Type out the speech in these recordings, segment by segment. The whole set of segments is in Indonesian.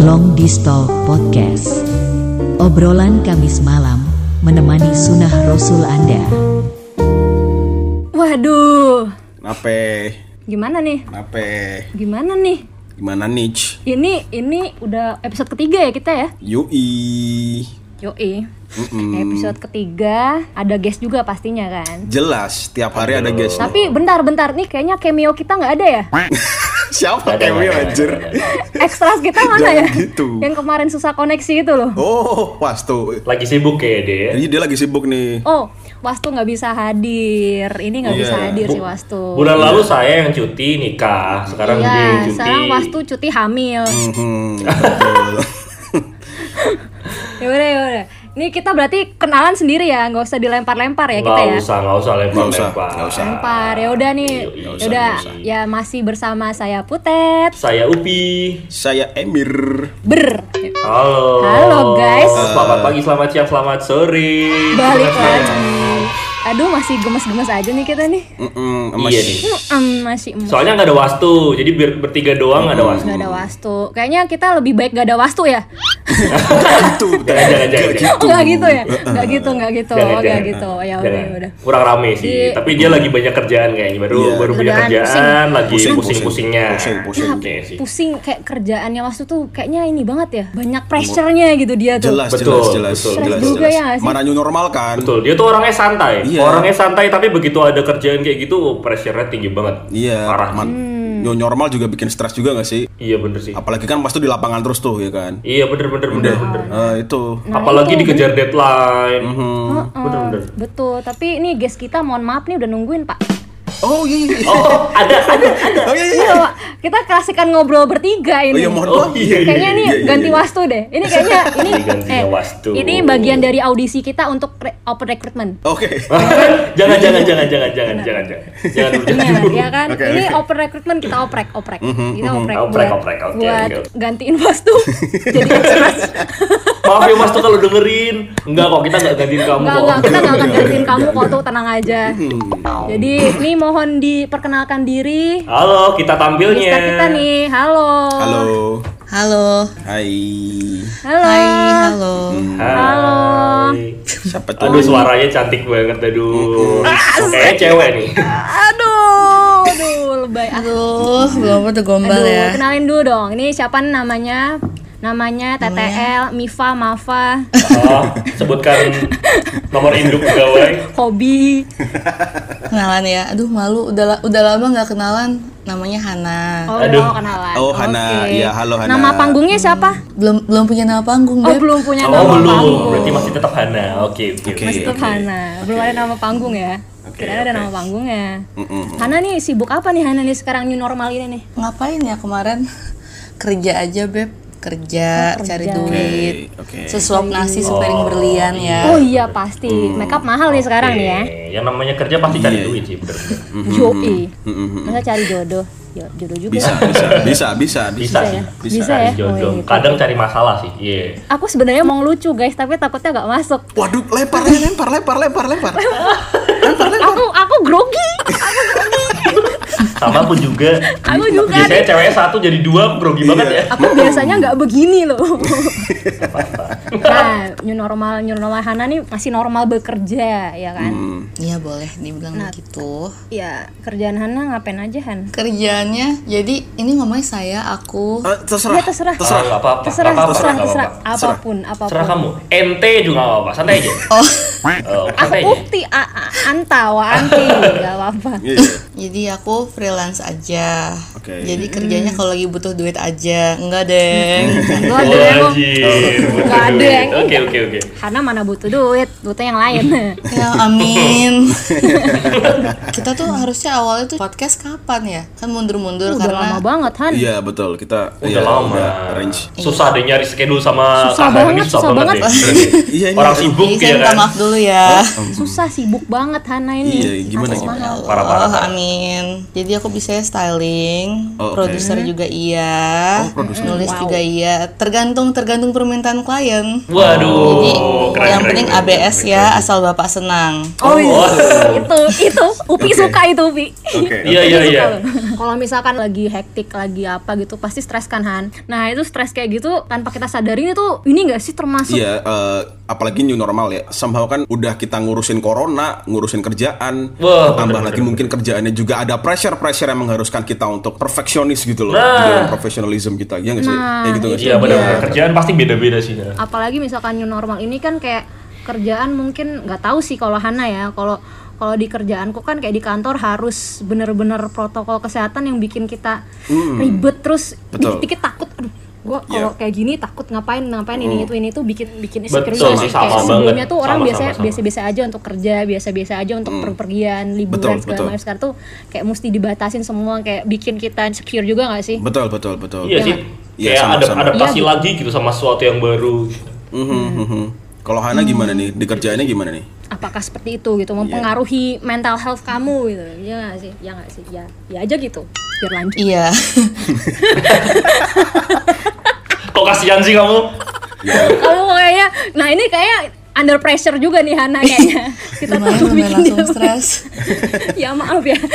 Long Distal Podcast. Obrolan Kamis malam menemani sunnah Rasul Anda. Waduh, Nape? gimana nih? Nape? Gimana nih? Gimana niche? Ini ini udah episode ketiga ya kita ya? Yui. Yoi. Episode ketiga ada guest juga pastinya kan. Jelas, tiap hari ada guest. Tapi bentar-bentar nih kayaknya cameo kita nggak ada ya? Siapa cameo anjir? Ekstras kita mana ya? Jangan gitu. Yang kemarin susah koneksi itu loh. Oh, Wastu. Lagi sibuk kayak dia ya. Ini dia lagi sibuk nih. Oh, Wastu nggak bisa hadir. Ini nggak bisa Iya. hadir Bu- si Wastu. Bulan lalu saya yang cuti nikah, sekarang dia yang Iya, cuti. sekarang Wastu cuti hamil. Hmm, betul. Ya udah, ya udah. Ini kita berarti kenalan sendiri ya, nggak usah dilempar-lempar ya kita Nggak ya. usah, nggak usah lempar Nggak usah, lempar. nggak usah. Lempar. Ya udah nih. Iya, Ya usah, udah nggak usah. ya masih bersama saya Putet. Saya Upi. Saya Emir. Ber. Halo. Halo, guys. Selamat pagi, selamat siang, selamat sore. Balik lagi. Aduh masih gemes-gemes aja nih kita nih. Mm-mm, Iya emas. nih. Mm, masih emas. Soalnya nggak ada wastu, jadi ber- bertiga doang Hmm. nggak ada wastu. Gak ada wastu. Kayaknya kita lebih baik gak ada wastu ya. Itu. Jangan, jangan, jangan, jangan. Oh, nggak gitu ya. Nggak gitu, nggak gitu. Jangan, nggak jangan. gitu. Ya udah, Jangan. ya udah. Kurang rame sih, Di- tapi dia lagi banyak kerjaan kayaknya. Baru Iya. baru punya Kerjaan, kerjaan, pusing. lagi Pusing, pusing-pusingnya. pusing, pusing. Iya sih. Pusing kayak kerjaannya wastu tuh kayaknya ini banget ya. Banyak pressure-nya gitu dia tuh. Jelas, Betul, jelas, jelas, betul, jelas, betul. Juga jelas. ya nggak sih? Mana new normal kan? Betul, dia tuh orangnya santai. Iya. Orangnya santai tapi begitu ada kerjaan kayak gitu pressure-nya tinggi banget. Iya. Parah. Man, Hmm. new normal juga bikin stres juga gak sih? Iya bener sih. Apalagi kan Wastu di lapangan terus tuh ya kan? Iya bener bener bener bener. Eh, itu. Nah, Apalagi dikejar deadline. Mhm. Heeh, Bener bener. Betul, tapi ini guys kita mohon maaf nih udah nungguin, Pak. Oh iya. iya. Oh ada ada ada. Oh iya. iya. Iya, Pak. Kita klasikan ngobrol bertiga Oh ini. iya, mohon Oh, maaf. iya, iya. kayaknya ini ganti wastu deh. Ini kayaknya ini eh, Gantinya wastu. Iya. ini bagian dari audisi kita untuk re- open recruitment. Oke. jangan jangan jangan jangan jangan jangan jangan jangan dulu, jangan Iya, dulu. ya kan? Oke, ini oke. open recruitment kita oprek, oprek. Kita oprek. Mhm, Oprek, buat- oprek, oke, buat oke. gantiin wastu. Jadi ekstras. Maaf ya Mas tuh kalau dengerin. Enggak kok kita nggak gantiin kamu Iya, Enggak, kok. enggak, kita enggak akan gantiin kamu kok tuh tenang aja. Mhm. Jadi ini mohon diperkenalkan diri. Halo, kita tampilnya. Mister kita nih. Halo. Halo. Halo. Hai. Halo. Hai, halo. Hai. Siapa tuh? Aduh suaranya cantik banget aduh. Kayaknya cewek nih. Aduh, aduh, lebay. Aduh, belum tuh gombal Aduh, ya. kenalin dulu dong. Ini siapa namanya? Namanya TTL, Mifa, Mafa, Oh, sebutkan nomor induk pegawai. Kobi. Kenalan ya. Aduh, malu udah la- udah lama nggak kenalan. Namanya Hana. Oh, Aduh. udah kenalan. Oh, Hana. Oke. Iya, halo, Hana. Nama panggungnya siapa? Belum belum punya nama panggung, Oh, Beb. belum punya Oh, nama belum. panggung. Berarti masih tetap Hana. Oke, oke. Oke. Masih tetap oke. Hana. Belum ada nama panggung ya. Kira ada nama panggungnya. Mm-mm. Hana nih sibuk apa nih Hana nih sekarang new normal ini nih? Ngapain ya kemarin? Kerja aja, Beb. Oh, Kerja, cari duit. oke. Sesuap nasi sepiring berlian Oh ya. iya pasti, Mm. makeup mahal nih sekarang nih ya. Eh, Yang namanya kerja pasti cari Iya. duit sih, bener. Yoi. Mm, Masa cari jodoh? Yo, jodoh juga. Bisa, bisa, bisa, bisa, Bisa bisa. sih. Bisa, Bisa, ya. Oh, Jodoh. iya. Kadang cari masalah sih. Iya. Aku sebenarnya mau lucu guys, tapi takutnya nggak masuk. Waduh, lempar, lempar, lempar, lempar, lempar. kan- Aku aku grogi. Sama aku juga. Aku juga Biasanya nih. ceweknya satu jadi Iya. dua, grogi banget ya. Aku biasanya nggak begini loh. nah, new normal new normal Hana nih masih normal bekerja ya kan? Hmm. Iya, boleh dibilang Nah. begitu. Ya kerjaan Hana ngapain aja Han? Kerjaannya jadi ini ngomongnya saya, aku. Eh, terserah. Iya, terserah. Ah, nggak apa-apa. Terserah, nggak apa-apa, terserah, nggak terserah, apa-apa. apapun, Terserah apapun. kamu. NT juga nggak apa-apa. Santai aja. Oh. Oh, Aku santai aja. ukti, a, a, anta, wa anti, gak apa-apa. Iya, iya. Jadi aku freelance aja. Oke. Jadi kerjanya Hmm. kalau lagi butuh duit aja. Enggak, Deng. Gua Oh, ada yang mau- Wajib. Nggak ada yang Oke, oke, oke. Hana mana butuh duit, butuh yang lain. Ya amin. kita tuh harusnya awalnya tuh podcast kapan ya? Kan mundur-mundur Udah karena lama banget Han. Iya, betul. Kita Udah iya, lama. udah range. Susah deh nyari schedule sama Susah Kak Hana ini banget, susah, susah banget, banget. deh. Iya, ini- Orang Jadi sibuk saya ya minta kan. maaf dulu ya. Susah sibuk banget Hana ini. Iya, gimana, Artis gimana? mahal. Parah, parah, Oh, parah. amin. Jadi aku bisa styling, Oh, oke. produser juga iya, Oh, produser. nulis juga iya. Tergantung tergantung permintaan klien. Waduh. Jadi Oh, keren, yang keren, penting keren, keren, ABS keren. ya, asal bapak senang. Oh, Oh, iya. itu, itu, Upi suka itu Upi. Oke. Iya, Dia iya, suka iya. loh. kalau misalkan lagi hektik lagi apa gitu pasti stres kan Han nah itu stres kayak gitu tanpa kita sadarin itu ini nggak sih termasuk Iya, eh, apalagi new normal ya. Somehow kan udah kita ngurusin corona, ngurusin kerjaan, Wah, tambah bener-bener. lagi mungkin kerjaannya juga ada pressure-pressure yang mengharuskan kita untuk perfeksionis gitu loh Nah. di dalam profesionalism kita. Iya nggak sih? Nah, ya gitu nggak sih? Iya benar. Kerjaan pasti beda-beda sih. ya. apalagi misalkan new normal ini kan kayak kerjaan mungkin nggak tahu sih kalau Hana ya kalau kalau di kerjaanku kan kayak di kantor harus bener-bener protokol kesehatan yang bikin kita ribet terus Betul. dikit-dikit takut aduh gue kalau Iya. kayak gini takut ngapain ngapain ini itu ini itu bikin bikin Betul insecure sih, kayak sama sebelumnya banget. tuh orang Sama, biasa sama, Mm. sama. biasa-biasa aja untuk kerja biasa-biasa aja untuk pergian liburan Betul, segala betul. macam sekarang tuh kayak mesti dibatasin semua kayak bikin kita insecure juga nggak sih Betul, betul, betul. Iya sih. Iya, Kayak sama, ada sama. adaptasi Iya, gitu. lagi gitu sama sesuatu yang baru. gitu. Mhm, mhm. Kalau Hana gimana nih? Di kerjaannya gimana nih? apakah seperti itu gitu mempengaruhi mental health kamu gitu ya nggak sih ya nggak sih ya ya aja gitu biar lanjut Iya. Kok kasihan sih kamu? kamu kayaknya nah ini kayak under pressure juga nih Hana kayaknya kita Lumayan takut lumayan bikin langsung dia- stres. ya maaf ya Oke.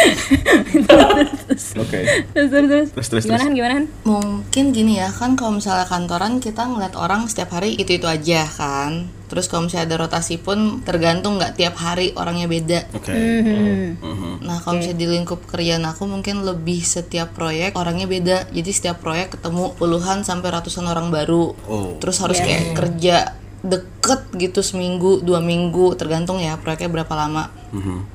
terus terus terus, Terus, terus, gimana Han, gimana Han? Mungkin gini ya kan kalau misalnya kantoran kita ngeliat orang setiap hari itu itu aja kan. Terus kalau misalnya ada rotasi pun tergantung nggak tiap hari orangnya beda. Oke. Nah kalau misalnya di lingkup kerjaan aku mungkin lebih setiap proyek orangnya beda. Jadi setiap proyek ketemu puluhan sampai ratusan orang baru. Oh. Terus harus kayak kerja deket gitu seminggu dua minggu tergantung ya proyeknya berapa lama.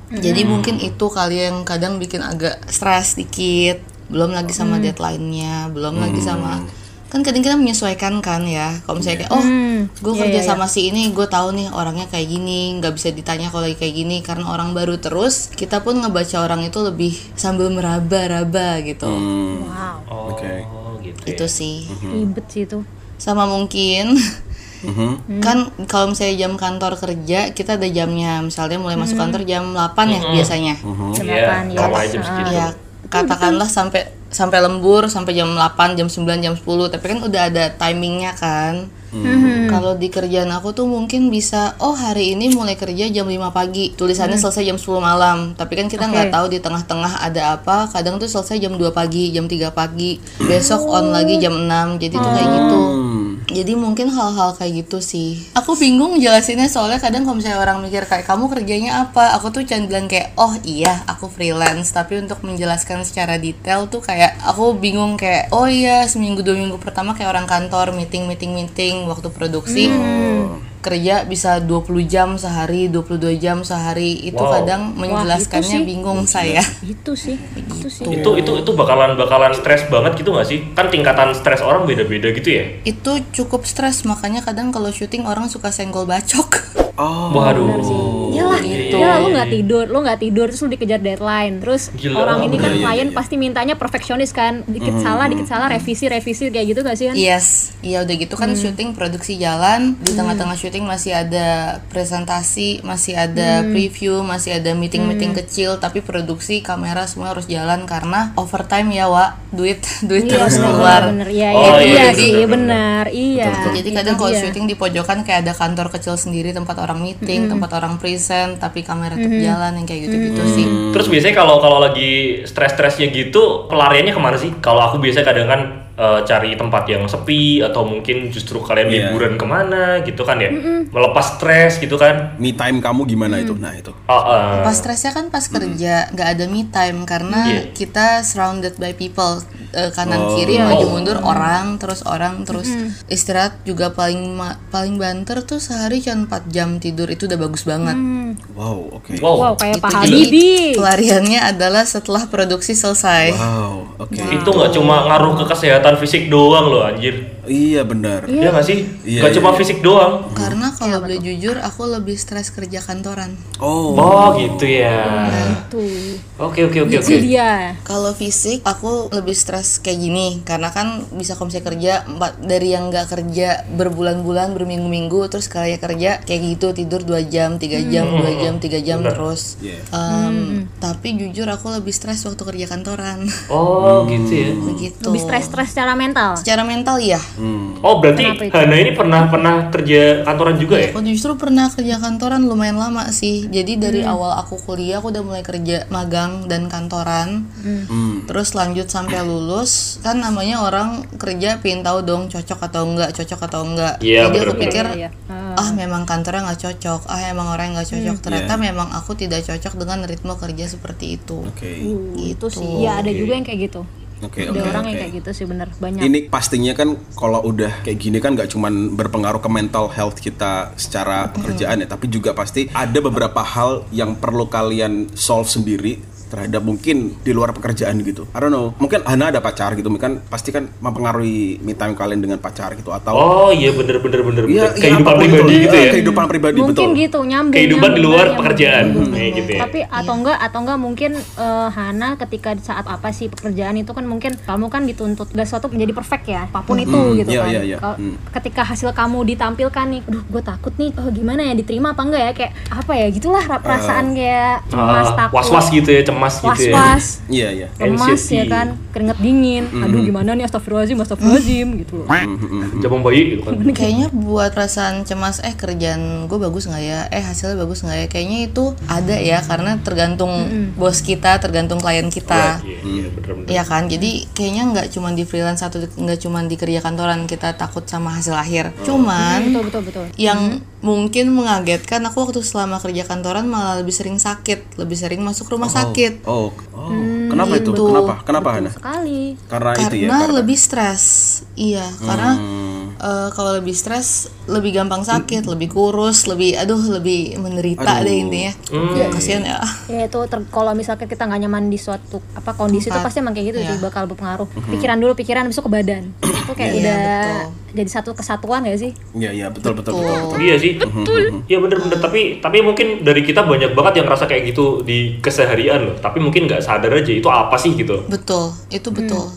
Jadi mungkin itu kali yang kadang bikin agak stres dikit. Belum lagi sama deadline-nya, belum lagi sama kan kadang kita menyesuaikan kan ya kalau misalnya kayak oh gue kerja sama si ini gue tahu nih orangnya kayak gini nggak bisa ditanya kalau lagi kayak gini karena orang baru terus kita pun ngebaca orang itu lebih sambil meraba-raba gitu wow Oh, Oke. gitu. ya. itu sih ribet sih itu sama mungkin Mm-hmm. kan kalau misalnya jam kantor kerja kita ada jamnya misalnya mulai masuk kantor jam 8 ya biasanya Iya, kenapa ya sama aja segitu. ya katakanlah sampai sampai lembur sampai jam 8 jam 9 jam 10 tapi kan udah ada timingnya kan kalau di kerjaan aku tuh mungkin bisa oh hari ini mulai kerja jam 5 pagi tulisannya selesai jam 10 malam tapi kan kita nggak Oke. tahu di tengah-tengah ada apa kadang tuh selesai jam 2 pagi jam 3 pagi besok on lagi jam 6 jadi tuh kayak gitu jadi mungkin hal-hal kayak gitu sih. Aku bingung jelasinnya soalnya kadang kalau misalnya orang mikir kayak kamu kerjanya apa, aku tuh cuman bilang kayak oh iya aku freelance. Tapi untuk menjelaskan secara detail tuh kayak aku bingung kayak oh iya seminggu dua minggu pertama kayak orang kantor meeting meeting meeting waktu produksi kerja bisa 20 jam sehari, 22 jam sehari itu Wow. kadang menjelaskannya sih. bingung saya. itu sih itu sih Itu itu itu bakalan bakalan stres banget gitu nggak sih? Kan tingkatan stres orang beda-beda gitu ya. Itu cukup stres makanya kadang kalau syuting orang suka senggol bacok. Oh. Waduh. Iyalah, Iya, iyalah iya, lu iya. nggak tidur, lu nggak tidur terus lu dikejar deadline. Terus Gila, oh, orang ini kan iya, iya, klien iya. pasti mintanya perfeksionis kan, dikit Mm-hmm, salah, dikit salah, revisi, revisi kayak gitu gak sih kan? Hmm. Yes, iya udah gitu kan syuting produksi jalan di tengah-tengah syuting masih ada presentasi, masih ada Hmm. preview, masih ada meeting-meeting kecil tapi produksi kamera semua harus jalan karena overtime ya Wak, duit duit terus Iya, keluar. Bener, iya, iya, Oh, iya, iya, sih, bener, iya, benar, iya. Jadi Itu kadang kalau dia. syuting di pojokan kayak ada kantor kecil sendiri tempat orang Hmm. meeting, tempat orang present tapi kamera tetap jalan yang kayak gitu-gitu Hmm. sih. Terus biasanya kalau kalau lagi stres-stresnya gitu, pelariannya kemana sih? Kalau aku biasanya kadang kan eh, cari tempat yang sepi atau mungkin justru kalian Iya. liburan kemana gitu kan ya, melepas stres gitu kan. Me time kamu gimana Hmm. itu? Nah, itu. Ah, ah. Pas stresnya kan pas kerja nggak ada me time karena Iya. kita surrounded by people Eh, kanan kiri Iya. maju mundur orang terus orang terus istirahat juga paling ma- paling banter tuh sehari cuma 4 jam tidur itu udah bagus banget. Wow, oke. Wow. Wow, Mm, kayak Gitu. Pak Jadi Habibie. pelariannya adalah setelah produksi selesai. Wow, oke. gitu. Itu nggak cuma ngaruh ke kesehatan fisik doang loh anjir. Iya benar. Iya nggak sih? Iya, Nggak iya, cuma iya. fisik doang. Karena kalau Iya, boleh jujur aku lebih stres kerja kantoran. Oh. Oh gitu ya. Tuh, Oke oke oke gitu. itu oke. dia. Kalau fisik aku lebih stres kayak gini karena kan bisa kalau misalnya kerja empat dari yang nggak kerja berbulan-bulan berminggu-minggu terus kalian kerja kayak gitu tidur dua jam tiga jam dua jam tiga jam terus. Iya. Um, Tapi jujur aku lebih stres waktu kerja kantoran Oh gitu ya. Hmm. begitu. Lebih stres-stres secara mental. Secara mental ya Oh berarti Kenapa itu? Hana ini pernah pernah kerja kantoran juga ya? Aku justru pernah kerja kantoran lumayan lama sih. Jadi dari Hmm. awal aku kuliah aku udah mulai kerja magang dan kantoran. Hmm. Hmm. Terus lanjut sampai lulus. Kan namanya orang kerja pin tahu dong cocok atau enggak, cocok atau enggak. Iya, Jadi aku bener-bener. pikir Iya, iya, ah memang kantornya nggak cocok. Ah emang orangnya nggak cocok. Hmm. Ternyata Iya. memang aku tidak cocok dengan ritme kerja seperti itu. Oke. itu sih ya ada juga yang kayak gitu Oke, ada oke, orang yang oke. kayak gitu sih bener banyak Ini pastinya kan kalau udah kayak gini kan nggak cuman berpengaruh ke mental health kita secara pekerjaan ya, tapi juga pasti ada beberapa hal yang perlu kalian solve sendiri terhadap mungkin di luar pekerjaan gitu. I don't know. Mungkin Hana ada pacar gitu, kan pasti kan mempengaruhi me time kalian dengan pacar gitu atau Oh iya bener bener bener bener. Iya, iya, kehidupan apapun itu. pribadi gitu Eh, ya. Kehidupan pribadi mungkin betul. gitu nyambung Kehidupan di nyambung, luar nyambung. pekerjaan. Betul. Kayak gitu ya. tapi atau enggak atau enggak mungkin eh, Hana ketika saat apa sih pekerjaan itu kan mungkin kamu kan dituntut gak suatu menjadi perfect ya apapun itu gitu Iya, kan iya, iya. Kalau- Hmm. ketika hasil kamu ditampilkan nih aduh gue takut nih oh, gimana ya diterima apa enggak ya kayak apa ya gitulah Ah. ra- perasaan kayak cemas Ah, takut was-was gitu ya, cemas gitu ya. was-was Iya, iya. lemas ya Anxiety. kan keringet dingin Hmm, aduh gimana nih astagfirullahaladzim astagfirullahaladzim gitu loh Jabang bayi gitu kan. Kayaknya buat perasaan cemas eh kerjaan gue bagus nggak ya? Eh hasilnya bagus nggak ya? Kayaknya itu ada ya karena tergantung bos kita, tergantung klien kita. Iya, iya, bener-bener. Iya kan, jadi kayaknya nggak cuma di freelance satu, nggak cuma di kerja kantoran kita takut sama hasil akhir. Cuman betul betul betul yang mungkin mengagetkan aku waktu selama kerja kantoran malah lebih sering sakit, lebih sering masuk rumah sakit Oh, oh. kenapa itu? gitu. Kenapa? Kenapa Hana? sekali Karena, itu ya. karena karena- Hmm. lebih stres. Iya, karena eh, kalau lebih stres lebih gampang sakit, lebih kurus, lebih aduh lebih menderita Aduh. deh intinya. Ya, kasihan ya. ya itu ter- kalau misalnya kita nggak nyaman di suatu apa kondisi itu Tempat. pasti emang kayak gitu Iya. sih bakal berpengaruh pikiran dulu pikiran besok ke badan itu kayak Iya, udah betul. jadi satu kesatuan gak sih Iya, iya, betul betul betul. betul. Iya sih. Betul. Iya bener-bener. Tapi tapi mungkin dari kita banyak banget yang ngerasa kayak gitu di keseharian loh. Tapi mungkin nggak sadar aja itu apa sih gitu. Betul, itu betul.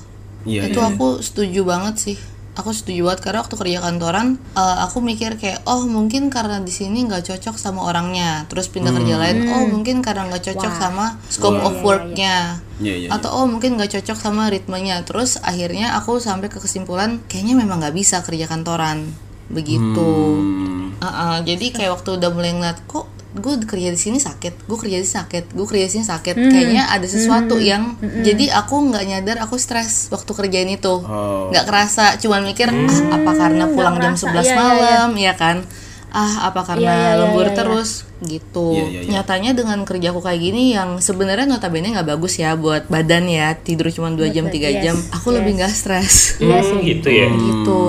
Iya, itu aku setuju banget sih. Aku setuju banget karena waktu kerja kantoran, eh, aku mikir kayak, oh mungkin karena di sini nggak cocok sama orangnya, terus pindah kerja Hmm. lain, oh mungkin karena nggak cocok sama scope of worknya, Iya, iya, atau oh mungkin nggak cocok sama ritmenya, terus akhirnya aku sampai ke kesimpulan, kayaknya memang nggak bisa kerja kantoran, begitu. Hmm. Uh-uh, jadi kayak waktu udah mulai ngeliat kok gue kerja di sini sakit, gue kerja di sini sakit, gue kerja di sini sakit. Hmm. Kayaknya ada sesuatu yang jadi aku nggak nyadar aku stres waktu kerjain Oh. itu, Hmm. nggak kerasa, cuman mikir ah apa karena pulang jam 11 ngerasa, iya, iya, malam, ya kan? Ah apa karena Iya, iya, iya, lembur iya, iya. terus gitu. Iya, iya, iya. Nyatanya dengan kerja aku kayak gini yang sebenarnya notabene nggak bagus ya buat badan ya tidur cuma dua jam tiga yes, jam, aku lebih nggak stres Iya gitu Hmm. ya. gitu.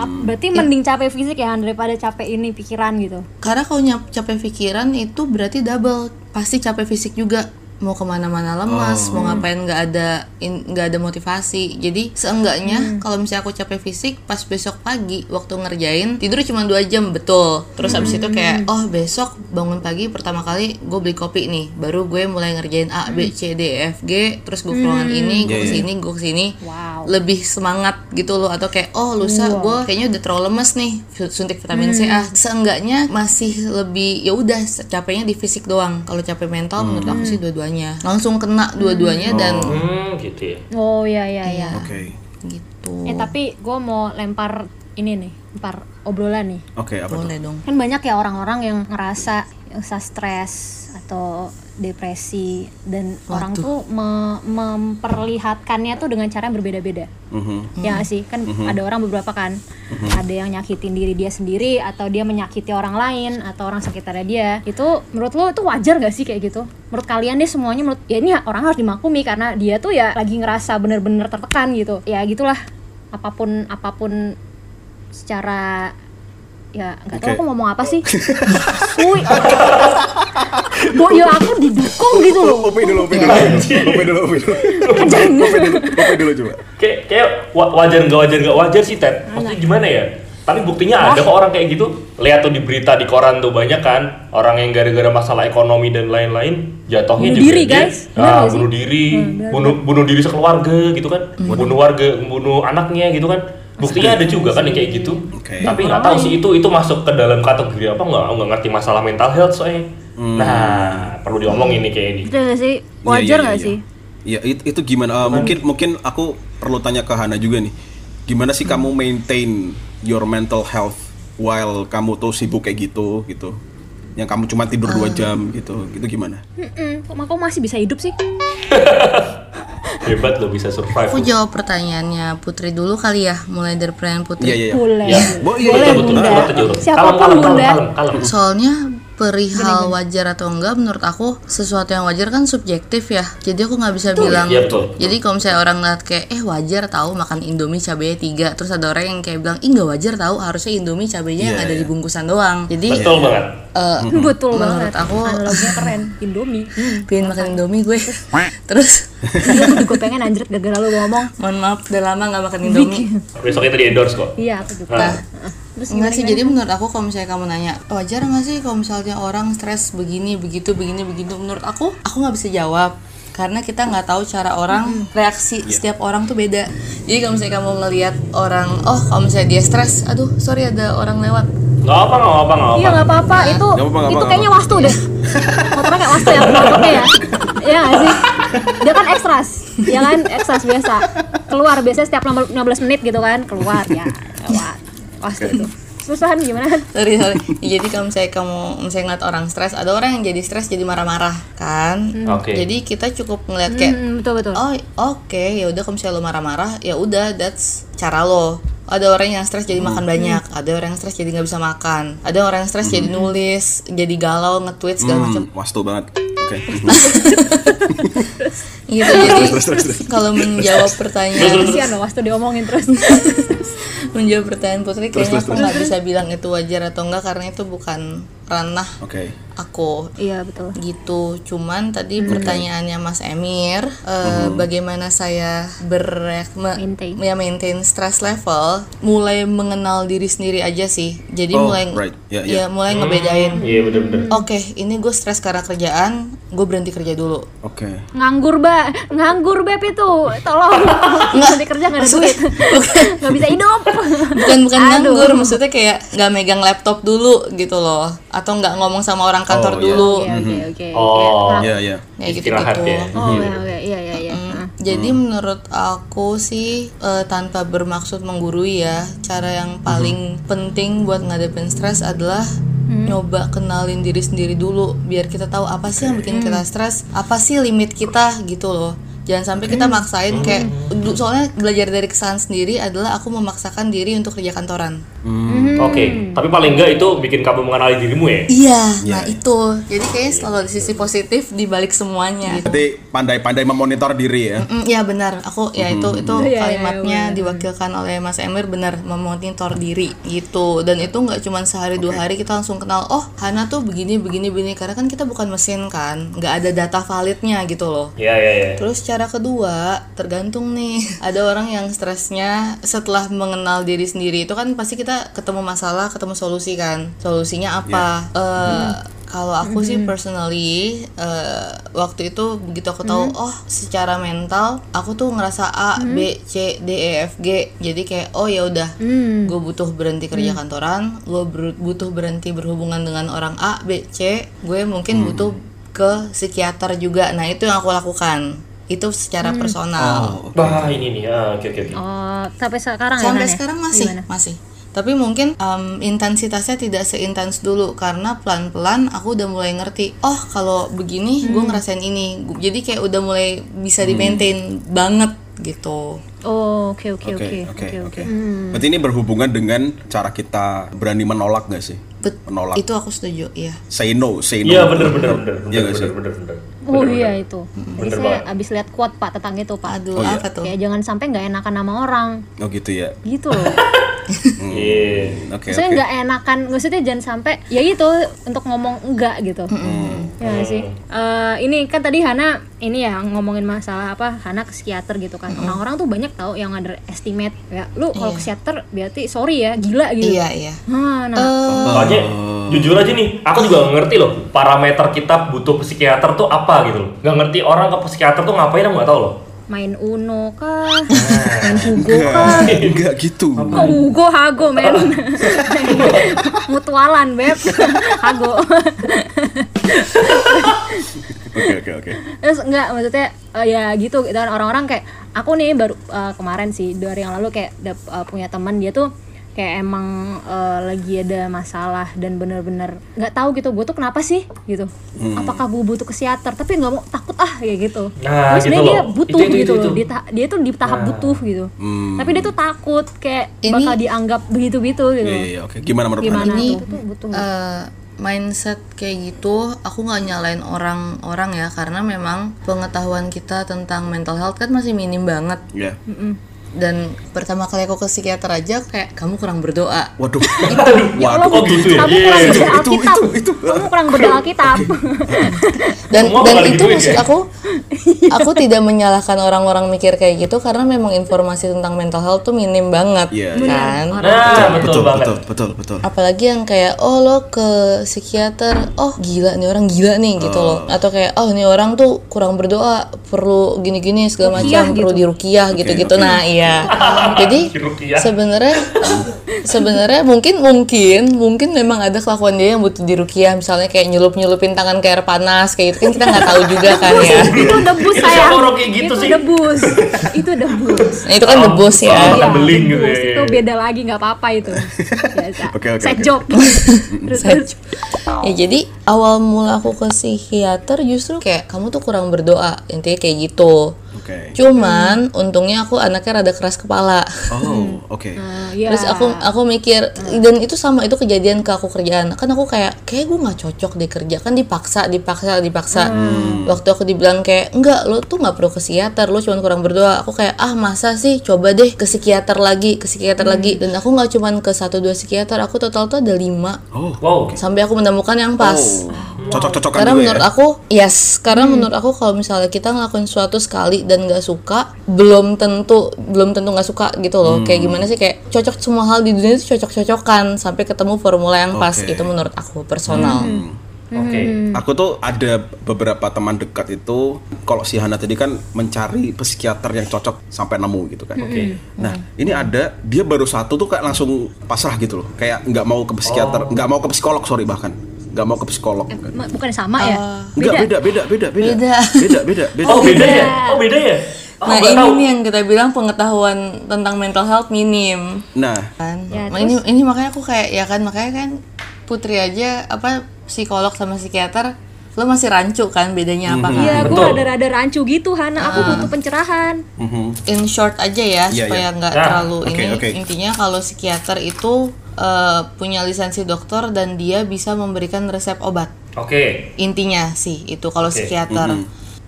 Ap- berarti mending capek fisik ya Han, daripada capek ini pikiran gitu Karena kalau nyap- capek pikiran itu berarti double, pasti capek fisik juga. Mau kemana-mana lemas, Oh. mau ngapain nggak ada in- nggak ada motivasi. Jadi seenggaknya kalau misalnya aku capek fisik, pas besok pagi waktu ngerjain tidur cuma dua jam betul. Terus abis itu kayak oh besok bangun pagi pertama kali gue beli kopi nih, baru gue mulai ngerjain A B C D E F G, terus gue keluaran ini, gue Iya, iya. kesini, gue kesini. Wow. Lebih semangat gitu loh atau kayak oh lusa gue kayaknya udah terlalu lemes nih su- suntik vitamin C ah seenggaknya masih lebih ya udah capeknya di fisik doang kalau capek mental menurut aku sih dua-duanya langsung kena dua-duanya dan Hmm, gitu ya. oh ya ya ya Iya. Oke. gitu eh tapi gue mau lempar ini nih lempar obrolan nih Oke, apa tuh? boleh dong kan banyak ya orang-orang yang ngerasa ngerasa stres atau depresi dan orang tuh me- memperlihatkannya tuh dengan cara yang berbeda-beda Mhm. ya nggak sih kan Hmm. ada orang beberapa kan ada yang nyakitin diri dia sendiri atau dia menyakiti orang lain atau orang sekitarnya dia itu menurut lo itu wajar gak sih kayak gitu menurut kalian deh semuanya menurut ya ini orang harus dimaklumi karena dia tuh ya lagi ngerasa bener-bener tertekan gitu ya gitulah apapun apapun secara ya nggak tahu Oke. Oh. aku ngomong apa sih Sui. Bo, ya aku didukung gitu loh Opi dulu, opi dulu. Opi dulu, opi dulu. Opi dulu, opi dulu coba. Kayak kayak wa- wajar nggak wajar nggak wajar sih Ted. Maksudnya gimana ya? Tapi buktinya ada kok orang kayak gitu. Lihat tuh di berita di koran tuh banyak kan orang yang gara-gara masalah ekonomi dan lain-lain jatuhnya Bunuh juga diri, dia- guys. Benar nggak Nah, sih? Hmm, bunuh diri, bunuh bunuh diri sekeluarga gitu kan. Bunuh warga, bunuh anaknya gitu kan. Buktinya ada juga kan yang kayak gitu. Oke. Iya. Tapi nggak tahu sih itu itu masuk ke dalam kategori apa nggak nggak ngerti masalah mental health soalnya. Nah, perlu diomongin nih kayak ini. Betul nggak sih Iya, wajar iya, nggak Ah, iya, iya. Ya, it- itu gimana? Eh, mungkin mungkin aku perlu tanya ke Hana juga nih. gimana sih kamu Hmm. maintain your mental health while kamu tuh sibuk kayak gitu gitu yang kamu cuma tidur Ah. dua jam gitu gitu gimana Mm-mm. Kok kok masih bisa hidup sih? Hebat lo bisa survive. Aku jawab pertanyaannya Putri dulu kali ya, mulai dari pertanyaan Putri. iya iya iya. Boleh. Ya. Bo- iya, Boleh iya, betul, bunda. betul, betul. Siapapun Kalem, kalem, bunda. kalem, kalem, kalem. Soalnya perihal wajar atau enggak menurut aku sesuatu yang wajar kan subjektif ya. Jadi aku nggak bisa bilang. Iya, betul. Jadi kalau misalnya orang ngeliat kayak eh wajar tahu makan indomie cabenya tiga, terus ada orang yang kayak bilang ih nggak wajar tahu harusnya indomie cabenya yang Iya, ada di iya. bungkusan doang. Jadi Betul banget. eh, Betul Menurut banget. aku- analoginya keren. Indomie. Hmm. pengen makan indomie gue. terus Iya, aku juga pengen anjrit gara-gara lu ngomong. mohon maaf udah lama nggak makan indomie. Besoknya tadi endorse kok. Iya, aku juga. Nah, Terus gimana, Enggak sih, gimana? jadi menurut aku kalau misalnya kamu nanya Wajar nggak sih kalau misalnya orang stres begini, begitu, begini, begitu Menurut aku, aku nggak bisa jawab karena kita nggak tahu cara orang reaksi setiap orang tuh beda jadi kalau misalnya kamu ngelihat orang oh kalau misalnya dia stres aduh sorry ada orang lewat nggak apa nggak apa Iya nggak apa. nggak apa-apa itu Nggak apa-apa, nggak itu apa-apa, kayaknya nggak wastu deh. Motornya kayak wastu ya penontonnya ya. Iya nggak sih? Dia kan ekstras, ya kan ekstras biasa. Keluar biasanya setiap 15 menit gitu kan keluar ya lewat wastu itu. Susahan gimana? sorry sorry Ya, jadi kalau misalnya kamu misalnya ngeliat orang stres ada orang yang jadi stres jadi marah-marah Mm. kan Oke. jadi kita cukup ngeliat kayak Hmm, betul betul. Oh oke ya udah kalau misalnya lo marah-marah ya udah that's cara lo. Ada orang yang stres jadi makan banyak, ada orang yang stres jadi nggak bisa makan, ada orang yang stres jadi nulis, jadi galau nge-tweet segala macam. Hmm, wastu banget oke Gitu jadi kalau menjawab pertanyaan Kasihan loh wastu diomongin terus. menjawab pertanyaan Putri Terus, kayaknya terus, aku nggak bisa bilang itu wajar atau enggak karena itu bukan ranah oke aku. Iya betul. gitu cuman tadi pertanyaannya Mas Emir eh, bagaimana saya berreak me- Maintain. ya maintain stress level mulai mengenal diri sendiri aja sih jadi Oh, mulai right. Ya, ya ya. mulai ngebedain Iya bener-bener. oke ini gue stres karena kerjaan gue berhenti kerja dulu oke Nganggur ba, nganggur beb itu, tolong. Nanti kerja nggak ada duit, nggak bisa hidup. bukan bukan Aduh. nganggur maksudnya kayak nggak megang laptop dulu gitu loh atau nggak ngomong sama orang Oh, kantor iya. dulu Oke oke oke. Oh. Iya, ya ya ya gitu Istirahat gitu ya. Oh oke oke iya iya iya. Ah. Jadi menurut aku sih eh, tanpa bermaksud menggurui ya, cara yang paling penting buat ngadepin stres adalah nyoba kenalin diri sendiri dulu biar kita tahu apa sih yang bikin kita stres, apa sih limit kita gitu loh. Jangan sampai kita maksain kayak du- soalnya belajar dari kesalahan sendiri adalah aku memaksakan diri untuk kerja kantoran. Hmm. Oke, tapi paling enggak itu bikin kamu mengenali dirimu ya. Iya, nah itu. Jadi kayaknya selalu ada sisi positif di balik semuanya. berarti pandai-pandai memonitor diri ya Mm, ya benar, aku ya itu itu Iya, iya, kalimatnya diwakilkan oleh Mas Emir benar memonitor diri gitu dan itu nggak cuma sehari dua hari kita langsung kenal oh Hana tuh begini begini begini karena kan kita bukan mesin kan nggak ada data validnya gitu loh. Iya iya iya. Terus cara kedua tergantung nih ada orang yang stresnya setelah mengenal diri sendiri itu kan pasti kita ketemu masalah ketemu solusi kan solusinya apa Eh kalau aku sih personally eh, waktu itu begitu aku tahu oh secara mental aku tuh ngerasa A B C D E F G jadi kayak oh ya udah gue butuh berhenti kerja kantoran gue ber- butuh berhenti berhubungan dengan orang A B C gue mungkin butuh ke psikiater juga. Nah, itu yang aku lakukan. Itu secara Hmm. personal. Wah ini nih, ah, oke oke oke. Oh, sampai sekarang ya. Sampai Nan, ya? sekarang masih, Gimana? masih. Tapi mungkin em, intensitasnya tidak seintens dulu karena pelan-pelan aku udah mulai ngerti. Oh, kalau begini Hmm. gue ngerasain ini. Gu- Jadi kayak udah mulai bisa di-maintain banget gitu. Oh, oke oke oke Oke, oke Mm. Hmm. oke. Berarti ini berhubungan dengan cara kita berani menolak nggak sih? Bet- Menolak. Itu aku setuju, iya. Say no, say no. Iya bener bener bener Iya bener nggak sih? bener bener bener. Mm-hmm. Oh iya itu. Tadi Bener saya banget. abis lihat quote Pak tentang itu Pak. Aduh, apa tuh? Iya, Kayak jangan sampai nggak enakan nama orang Oh gitu ya. gitu loh. Iya. Oke, Maksudnya oke. nggak enakan, maksudnya jangan sampai ya itu untuk ngomong enggak gitu. Ya nggak sih. Oh. Eh, ini kan tadi Hana ini ya ngomongin masalah apa Hana ke psikiater gitu kan. Orang-orang tuh banyak tahu yang underestimate ya. Lu kalau Iya. ke psikiater berarti sorry ya gila gitu. Iya, iya. Hah, nah, Eh. Soalnya jujur aja nih, aku juga nggak ngerti loh parameter kita butuh psikiater tuh apa gitu loh. Nggak ngerti orang ke psikiater tuh ngapain aku nggak tahu loh. main Uno kah, main Hugo kah, Enggak gitu. Kok Hugo Hago men Mutualan Beb Hago Oke oke oke. Terus enggak maksudnya eh, ya gitu dan orang-orang kayak aku nih baru eh, kemarin sih dua hari yang lalu kayak dap- eh, punya teman dia tuh kayak emang eh, lagi ada masalah dan bener-bener nggak tahu gitu gue tuh kenapa sih gitu Hmm. apakah gue butuh ke psikiater tapi nggak mau takut ah kayak gitu Nah, Tapi gitu sebenarnya dia loh. butuh Itu- itu- gitu itu- Nah. Hmm. loh itu. Dia, ta- dia tuh di tahap butuh gitu tapi dia tuh takut kayak Ini- bakal dianggap begitu-begitu gitu Iya, iya, iya, oke. Gimana menurut gimana Anda? Ini, tuh tuh butuh nggak? eh, mindset kayak gitu aku nggak nyalain orang-orang ya karena memang pengetahuan kita tentang mental health kan masih minim banget Ya. dan pertama kali aku ke psikiater aja kayak kamu kurang berdoa Waduh. Ya Allah, Waduh. Oh, gitu ya? kamu Iya, kurang iya, baca itu, Alkitab itu, itu. kamu kurang baca Alkitab dan Semua dan bakal itu digituin maksud ya? aku aku tidak menyalahkan orang-orang mikir kayak gitu karena memang informasi tentang mental health tuh minim banget Iya, iya. kan Nah, betul, Betul, banget. betul, betul, betul. apalagi yang kayak oh lo ke psikiater oh gila nih orang gila nih gitu loh atau kayak oh nih orang tuh kurang berdoa perlu gini-gini segala macam perlu dirukiah gitu-gitu nah iya jadi Dirukiah. sebenarnya sebenarnya mungkin mungkin mungkin memang ada kelakuan dia yang butuh dirukiah misalnya kayak nyelup-nyelupin tangan ke air panas kayak gitu kan kita nggak tahu juga kan ya itu debus Itu saya siapa orang kayak gitu itu sih? debus itu debus nah, itu kan debus ya Oh, Iya, beling debus. gitu ya, iya, itu iya. beda lagi nggak apa-apa itu biasa Oke, oke, Side oke. job terus terus. ya jadi awal mula aku ke psikiater justru kayak kamu tuh kurang berdoa intinya kayak gitu Oke. Cuman untungnya aku anaknya rada keras kepala. Hmm. Oh, oke. Nah, iya. Terus aku aku mikir dan itu sama itu kejadian ke aku kerjaan. Kan aku kayak kayak gue nggak cocok deh kerja kan dipaksa dipaksa dipaksa. Waktu aku dibilang kayak enggak lo tuh nggak perlu ke psikiater lo cuman kurang berdoa. Aku kayak ah masa sih coba deh ke psikiater lagi ke psikiater lagi dan aku nggak cuman ke satu dua psikiater aku total tuh ada lima Oh. Wow. sampai aku menemukan yang pas. Oh. Cocok-cocokan Karena juga menurut ya. aku, yes. Karena menurut aku kalau misalnya kita ngelakuin suatu sekali dan nggak suka, belum tentu belum tentu nggak suka gitu loh. Hmm. Kayak gimana sih kayak cocok semua hal di dunia itu cocok-cocokan sampai ketemu formula yang pas. Oke. Hmm. Itu menurut aku personal. Oke. Hmm. Aku tuh ada beberapa teman dekat itu kalau si Hana tadi kan mencari psikiater yang cocok sampai nemu gitu kan. Oke. Nah, ini ada dia baru satu tuh kayak langsung pasrah gitu loh. Kayak nggak mau ke Oh. psikiater, nggak mau ke psikolog sorry bahkan nggak mau ke psikolog. Ma- bukan sama ya Enggak, beda, beda, beda, beda. Beda. Beda, beda, beda. Oh, beda iya. ya? Oh, beda ya? Oh, Nah nggak ini tahu. nih yang kita bilang pengetahuan tentang mental health minim. Nah, kan Ya, Nah, ini ini makanya aku kayak ya kan makanya kan putri aja apa psikolog sama psikiater lo masih rancu kan bedanya apa kan Nah, iya gue Betul. rada-rada rancu gitu Hana aku Ah. butuh pencerahan in short aja ya Iya, supaya iya. nggak Nah, terlalu oke, ini oke. intinya kalau psikiater itu eh, punya lisensi dokter dan dia bisa memberikan resep obat Oke. intinya sih itu kalau Oke, psikiater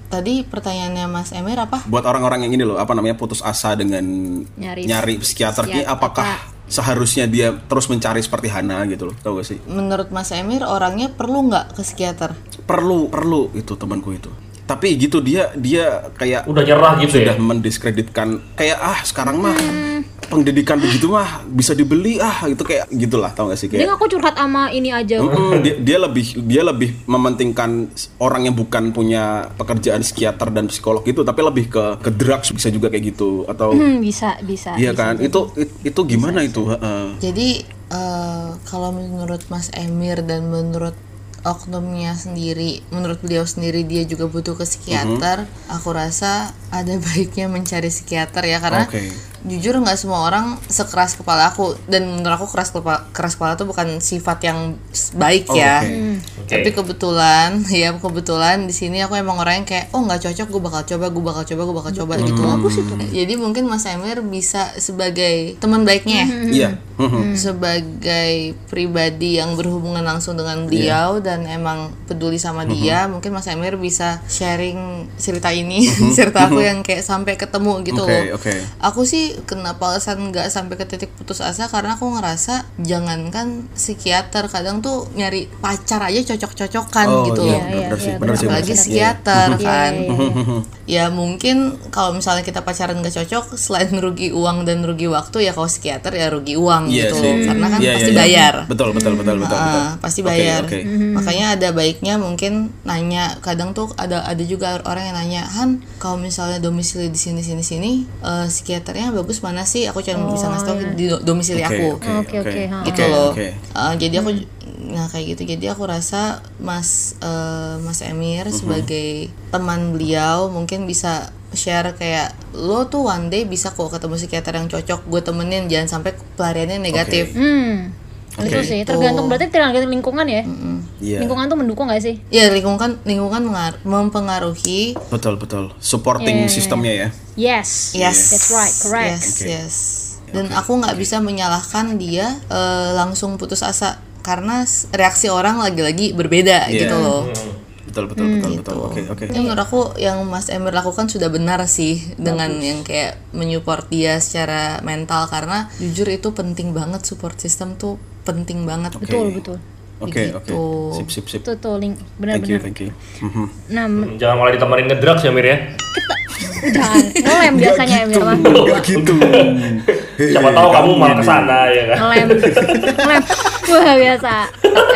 tadi pertanyaannya Mas Emir apa buat orang-orang yang ini loh, apa namanya putus asa dengan Nyari- nyari, psikiater ini psikiater. apakah seharusnya dia terus mencari seperti Hana gitu loh. Tahu gak sih? menurut Mas Emir orangnya perlu nggak ke psikiater Perlu, perlu itu temanku itu. Tapi gitu dia dia kayak Udah nyerah gitu sudah ya? mendiskreditkan kayak ah sekarang mah pendidikan begitu mah bisa dibeli ah gitu kayak gitulah tau gak sih jadi kayak aku curhat sama ini aja Mm-mm, dia, dia lebih dia lebih mementingkan orang yang bukan punya pekerjaan psikiater dan psikolog itu tapi lebih ke ke drugs bisa juga kayak gitu atau Hmm, bisa bisa iya bisa kan jadi. itu it- itu gimana itu Heeh. jadi eh, kalau menurut Mas Emir dan menurut oknumnya sendiri menurut beliau sendiri dia juga butuh ke psikiater Mm-hmm. aku rasa ada baiknya mencari psikiater ya karena Oke. jujur nggak semua orang sekeras kepala aku dan menurut aku keras kepala keras kepala tuh bukan sifat yang s- baik Oh, ya oke. Oke. tapi kebetulan ya kebetulan di sini aku emang orang yang kayak oh nggak cocok gue bakal coba gue bakal coba gue bakal coba Mm-hmm. gitu jadi mungkin mas Emir bisa sebagai teman baiknya ya iya Mhm. sebagai pribadi yang berhubungan langsung Iya. dengan beliau dan emang peduli sama Hmm. dia mungkin Mas Emir bisa sharing cerita ini cerita aku yang kayak sampai ketemu gitu Hmm. Oke, loh oke. aku sih kenapa alasan nggak sampai ke titik putus asa karena aku ngerasa jangankan psikiater kadang tuh nyari pacar aja cocok-cocokan oh gitu iya loh Iya, benar iya, sih iya, benar sih benar apalagi sih. Iya. psikiater kan Iya, iya, iya. ya mungkin kalau misalnya kita pacaran gak cocok selain rugi uang dan rugi waktu ya kalau psikiater ya rugi uang Iya gitu sih. karena kan Iya, iya, pasti iya. bayar betul betul betul betul, betul. Ah, pasti Oke, bayar oke. makanya ada baiknya mungkin nanya kadang tuh ada ada juga orang yang nanya Han kalau misalnya domisili di sini sini sini eh, psikiaternya bagus mana sih aku cuma bisa ngasih tau di do- domisili Oke, aku oke, Oke, oke, ha. gitu Oke, loh oke. Eh, jadi aku Nah kayak gitu jadi aku rasa Mas eh, Mas Emir Mhm. sebagai teman beliau mungkin bisa share kayak lo tuh one day bisa kok ketemu psikiater yang cocok gue temenin jangan sampai pelariannya negatif. Hmm. Itu sih tergantung berarti tergantung lingkungan ya. Oh. Iya. Lingkungan tuh mendukung gak sih? Ya lingkungan lingkungan mengar- mempengaruhi Betul betul. Supporting sistemnya ya. Yes. Yes. That's right. Correct. Yes, yes. Dan aku nggak bisa menyalahkan dia eh, langsung putus asa karena s- reaksi orang lagi-lagi berbeda Iya. gitu loh. Betul betul betul gitu. betul. Oke oke. Tapi Hmm, menurut aku yang Mas Emir lakukan sudah benar sih dengan yang kayak menyupport dia secara mental karena jujur itu penting banget support system tuh penting banget. Oke. Betul, betul. Oke oke. Begitu. Sip sip sip. Itu tuh link Thank you benar-benar. thank you. Mhm. Nah, men- Jangan malah ditemenin ngedrugs ya Mir ya. jangan ngelem biasanya ya Mira. Gak gitu. Siapa tahu kamu malah kesana ya kan. ngelem ngelem wah biasa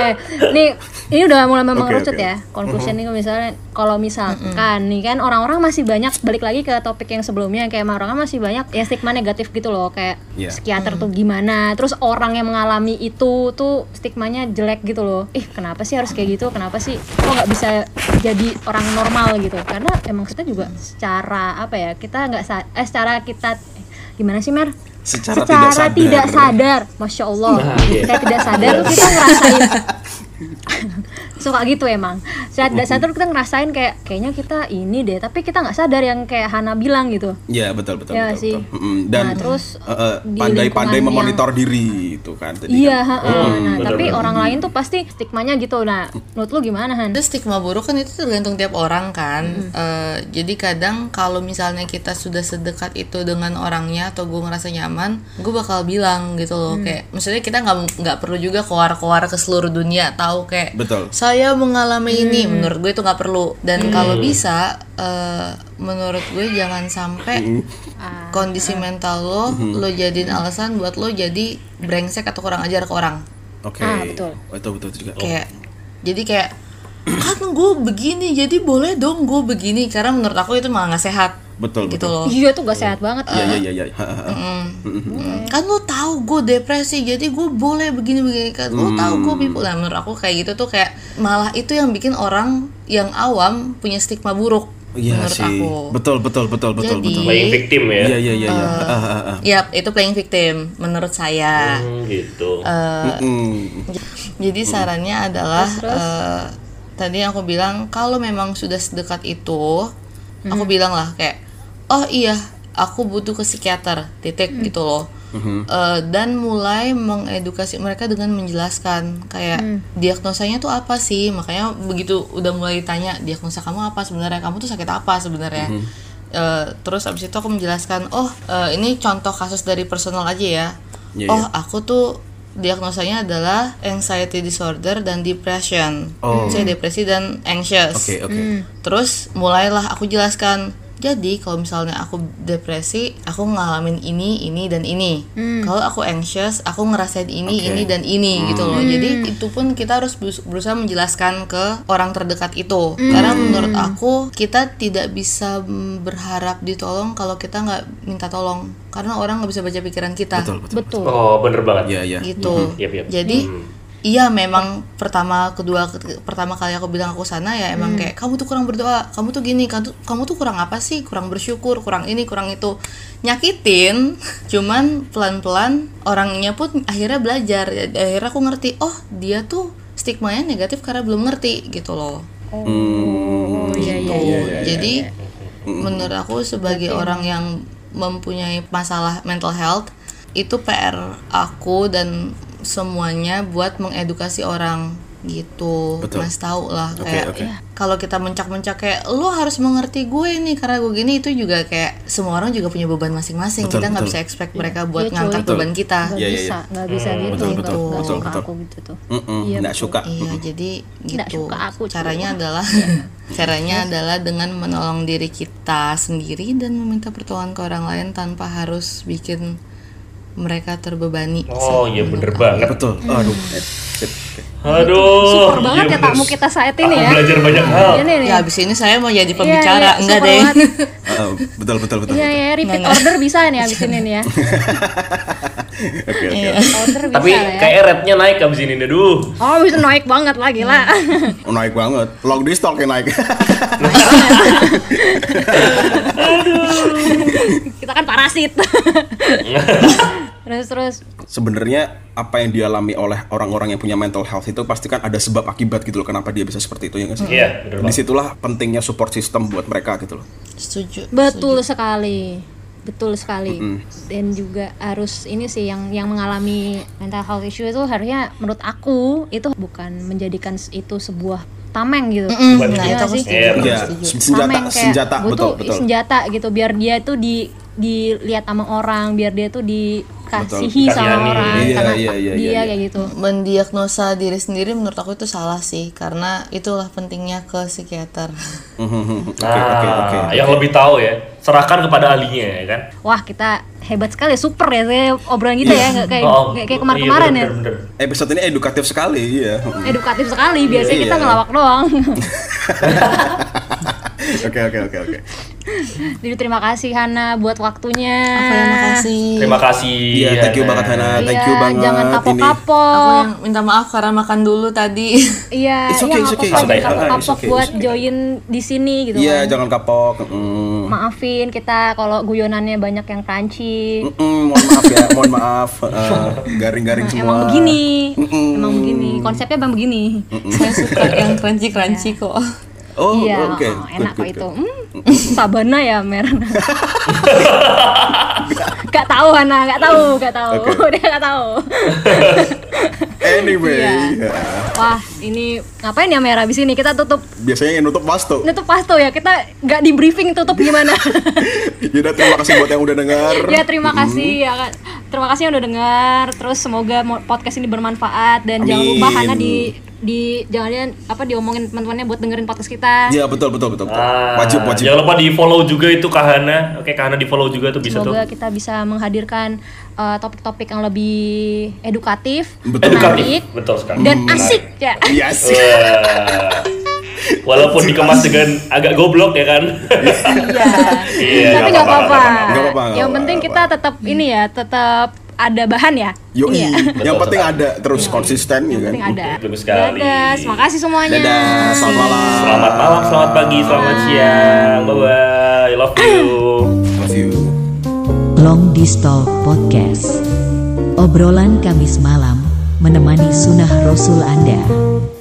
eh nih ini udah mulai memang Oke, kerucut oke. Mm-hmm. ya conclusion nih misalnya kalau misalkan nih kan orang-orang masih banyak balik lagi ke topik yang sebelumnya kayak emang orang masih banyak ya stigma negatif gitu loh kayak Iya. psikiater tuh gimana terus orang yang mengalami itu tuh stigmanya jelek gitu loh ih kenapa sih harus kayak gitu kenapa sih kok nggak bisa jadi orang normal gitu karena emang kita juga secara apa ya kita nggak sa- eh secara kita eh, gimana sih mer Secara tidak tidak sadar. sadar, masya Allah, Nah, iya. saya tidak sadar tuh kita ngerasain suka gitu emang. Saya tidak sadar kita ngerasain kayak kayaknya kita ini deh, tapi kita nggak sadar yang kayak Hana bilang gitu. Ya Iya, betul betul Ya betul. sih. betul. Mhm. Dan Nah, terus, eh, eh, di pandai-pandai lingkungan memonitor diri itu kan tadi. Iya, kan. heeh. nah, benar, tapi benar. orang lain tuh pasti stigmanya gitu. Nah, menurut lu gimana Han? Terus stigma buruk kan itu tergantung tiap orang kan. Eh, jadi kadang kalau misalnya kita sudah sedekat itu dengan orangnya atau gue ngerasa nyaman, gue bakal bilang gitu loh kayak maksudnya kita nggak nggak perlu juga keluar-keluar ke seluruh dunia tahu kayak Betul. saya mengalami ini menurut gue itu nggak perlu dan kalau bisa eh, menurut gue jangan sampai kondisi mental lo lo jadiin alasan buat lo jadi brengsek atau kurang ajar ke orang Oke. Ah, betul. Oh, itu betul itu juga. kayak jadi kayak kan gue begini jadi boleh dong gue begini karena menurut aku itu malah nggak sehat Betul betul. gitu loh Eh, Iya tuh gak sehat banget. Iya iya iya iya. Heeh. Mm, kan lo tahu gue depresi jadi gue boleh begini begini kan lo tahu gue Hmm. bipolar Nah, menurut aku kayak gitu tuh kayak malah itu yang bikin orang yang awam punya stigma buruk Iya menurut sih. aku Betul betul betul betul Jadi, betul. Playing victim ya. Iya iya iya iya. Eh, Heeh, heeh, heeh. Yap, itu playing victim menurut Oh. saya Hmm, gitu. Eh. Mm-mm. Jadi Hmm. sarannya adalah eh, tadi yang aku bilang kalau memang sudah sedekat itu, aku bilang lah kayak oh iya aku butuh ke psikiater titik gitu loh. Hmm. Eh, dan mulai mengedukasi mereka dengan menjelaskan kayak diagnosanya tuh apa sih makanya begitu udah mulai ditanya diagnosa kamu apa sebenarnya kamu tuh sakit apa sebenarnya Hmm. Eh, terus abis itu aku menjelaskan oh eh, ini contoh kasus dari personal aja ya Iya, oh iya. aku tuh diagnosanya adalah anxiety disorder dan depression. Oh. Saya depresi dan anxious. Oke oke. hmm. Terus mulailah aku jelaskan. Jadi kalau misalnya aku depresi, aku ngalamin ini, ini dan ini. Kalau aku anxious, aku ngerasain Oke. ini, Hmm. ini dan ini gitu loh. Jadi itu pun kita harus berus- berusaha menjelaskan ke orang terdekat itu. Karena menurut aku kita tidak bisa mm, berharap ditolong kalau kita nggak minta tolong. Karena orang nggak bisa baca pikiran kita Betul betul. Betul. Oh, bener banget. Iya iya. gitu. Yap, yap. Jadi iya memang pertama kedua ket- pertama kali aku bilang aku sana ya emang kayak kamu tuh kurang berdoa, kamu tuh gini, kamu tuh, kamu tuh kurang apa sih? Kurang bersyukur, kurang ini, kurang itu. Nyakitin, cuman pelan-pelan orangnya pun akhirnya belajar. Ya, Akhirnya aku ngerti, oh dia tuh stigmanya negatif karena belum ngerti gitu loh. Oh iya iya. Tuh, Gitu. Jadi mm, menurut aku sebagai orang yang mempunyai masalah mental health itu PR aku dan semuanya buat mengedukasi orang gitu. Betul. Mas tahu lah Oke, kayak Iya. oke. kalau kita mencak-mencak kayak lo harus mengerti gue nih karena gue gini itu juga kayak semua orang juga punya beban masing-masing. Betul, Kita nggak betul. bisa expect mereka buat Iya, ngangkat cuy. beban kita. Gak Iya, iya, bisa, nggak bisa gitu. Betul, nggak- betul, nggak betul, suka betul. aku gitu tuh. Mm-mm, Iya, nggak betul. suka. Iya, Hmm. jadi Nggak gitu. suka aku, cuy. Iya. Caranya adalah caranya adalah dengan menolong diri kita sendiri dan meminta pertolongan ke orang lain tanpa harus bikin mereka terbebani. Oh, iya bener banget. Betul. Mm. Aduh. eh, Sip. Aduh. Super banget iya ya tamu bener. kita saat ini Aku ya. Belajar banyak hal. Ini nih. Ya abis ini saya mau Iya, jadi iya, pembicara, enggak super deh. banget. Eh, betul betul betul. Iya betul. ya, repeat Nggak, nggak. order bisa nih abis ini nih ya. Oke oke. Iya. Powder bisa Tapi lah ya. kayak rednya naik abis ini deh duh. Oh bisa naik banget lah gila. Hmm. Naik banget. Long distance yang naik. Kita kan parasit. terus terus. Sebenarnya apa yang dialami oleh orang-orang yang punya mental health itu pasti kan ada sebab akibat gitu loh kenapa dia bisa seperti itu ya nggak sih? Iya, bener banget. Disitulah pentingnya support system buat mereka gitu loh. setuju Betul sekali. Betul sekali. Dan juga harus ini sih yang yang mengalami mental health issue itu harusnya menurut aku itu bukan menjadikan itu sebuah tameng gitu. Mm, Bukan nah gitu. itu aku Iya setuju, sih. aku Iya. Iya, setuju. senjata Sama yang kayak senjata gua betul tuh betul. senjata gitu biar dia tuh di dilihat sama orang biar dia tuh dikasihi Betul. sama Kasihani. orang Iya, karena iya, iya, dia iya, iya. kayak gitu mendiagnosa diri sendiri menurut aku itu salah sih karena itulah pentingnya ke psikiater Hmm, Nah, Oke oke oke. yang lebih tahu ya, serahkan kepada ahlinya ya kan. wah kita hebat sekali super ya saya obrolan kita Iya. ya nggak kayak Oh, nggak kayak iya, kemarin-kemarin ya bener, bener, bener. Episode ini edukatif sekali ya. edukatif sekali biasanya Iya, kita iya. ngelawak doang Oke oke oke oke. jadi terima kasih Hana buat waktunya Aku yang ya, makasih Terima kasih. ya, Iya, thank you Hana. banget Hana, thank Iya, you banget jangan ini. aku kapok-kapok yang minta maaf karena makan dulu tadi iya It's okay, iya it's nggak okay, it's apa-apa okay. jangan Ah, it's kapok okay, buat it's okay. join di sini gitu Iya, kan. jangan kapok. Mm. maafin kita kalau guyonannya banyak yang crunchy Mm-mm, mohon maaf ya, mohon maaf. Eh, garing-garing semua. Nah, emang begini emang begini konsepnya emang begini saya suka yang crunchy crunchy kok Oh, iya oke. oh, enak Good, kok good, itu good. hmm, sabana ya mer gak tahu Hana gak tahu gak tahu udah gak tahu Anyway, Iya. ya. wah ini ngapain ya mer abis ini kita tutup biasanya yang nutup mas tuh. nutup pasto ya kita gak di briefing tutup gimana Yaudah, terima kasih buat yang udah dengar. ya terima kasih ya kan terima kasih yang udah dengar terus semoga mo- podcast ini bermanfaat dan jangan lupa Amin. Hana di di jangan apa diomongin teman-temannya buat dengerin podcast kita Iya, betul betul betul. betul. Ah, Wajib wajib. Jangan lupa di follow juga itu Kahana. Oke, Kahana di follow juga tuh bisa Semoga tuh. kita bisa menghadirkan uh, topik-topik yang lebih edukatif, Betul. menarik, betul sekali. dan Menarik. asik ya. Iya sih. Wah. Walaupun dikemas dengan agak goblok ya kan. iya Iya. Tapi nggak apa-apa. Nggak apa-apa, nggak Yang apa-apa, penting nggak kita tetap ini ya, tetap ada bahan ya. Yoi. Ini ya. Yang Betul, penting ada terus konsisten Iya. ya Yang kan. penting ada. Bagus sekali. Dadah, terima kasih semuanya. Dadah, selamat malam. Selamat malam, selamat pagi, selamat Ah. siang. Bye bye. I love you. Love you. Long Distal Podcast. Obrolan Kamis malam menemani sunnah Rasul Anda.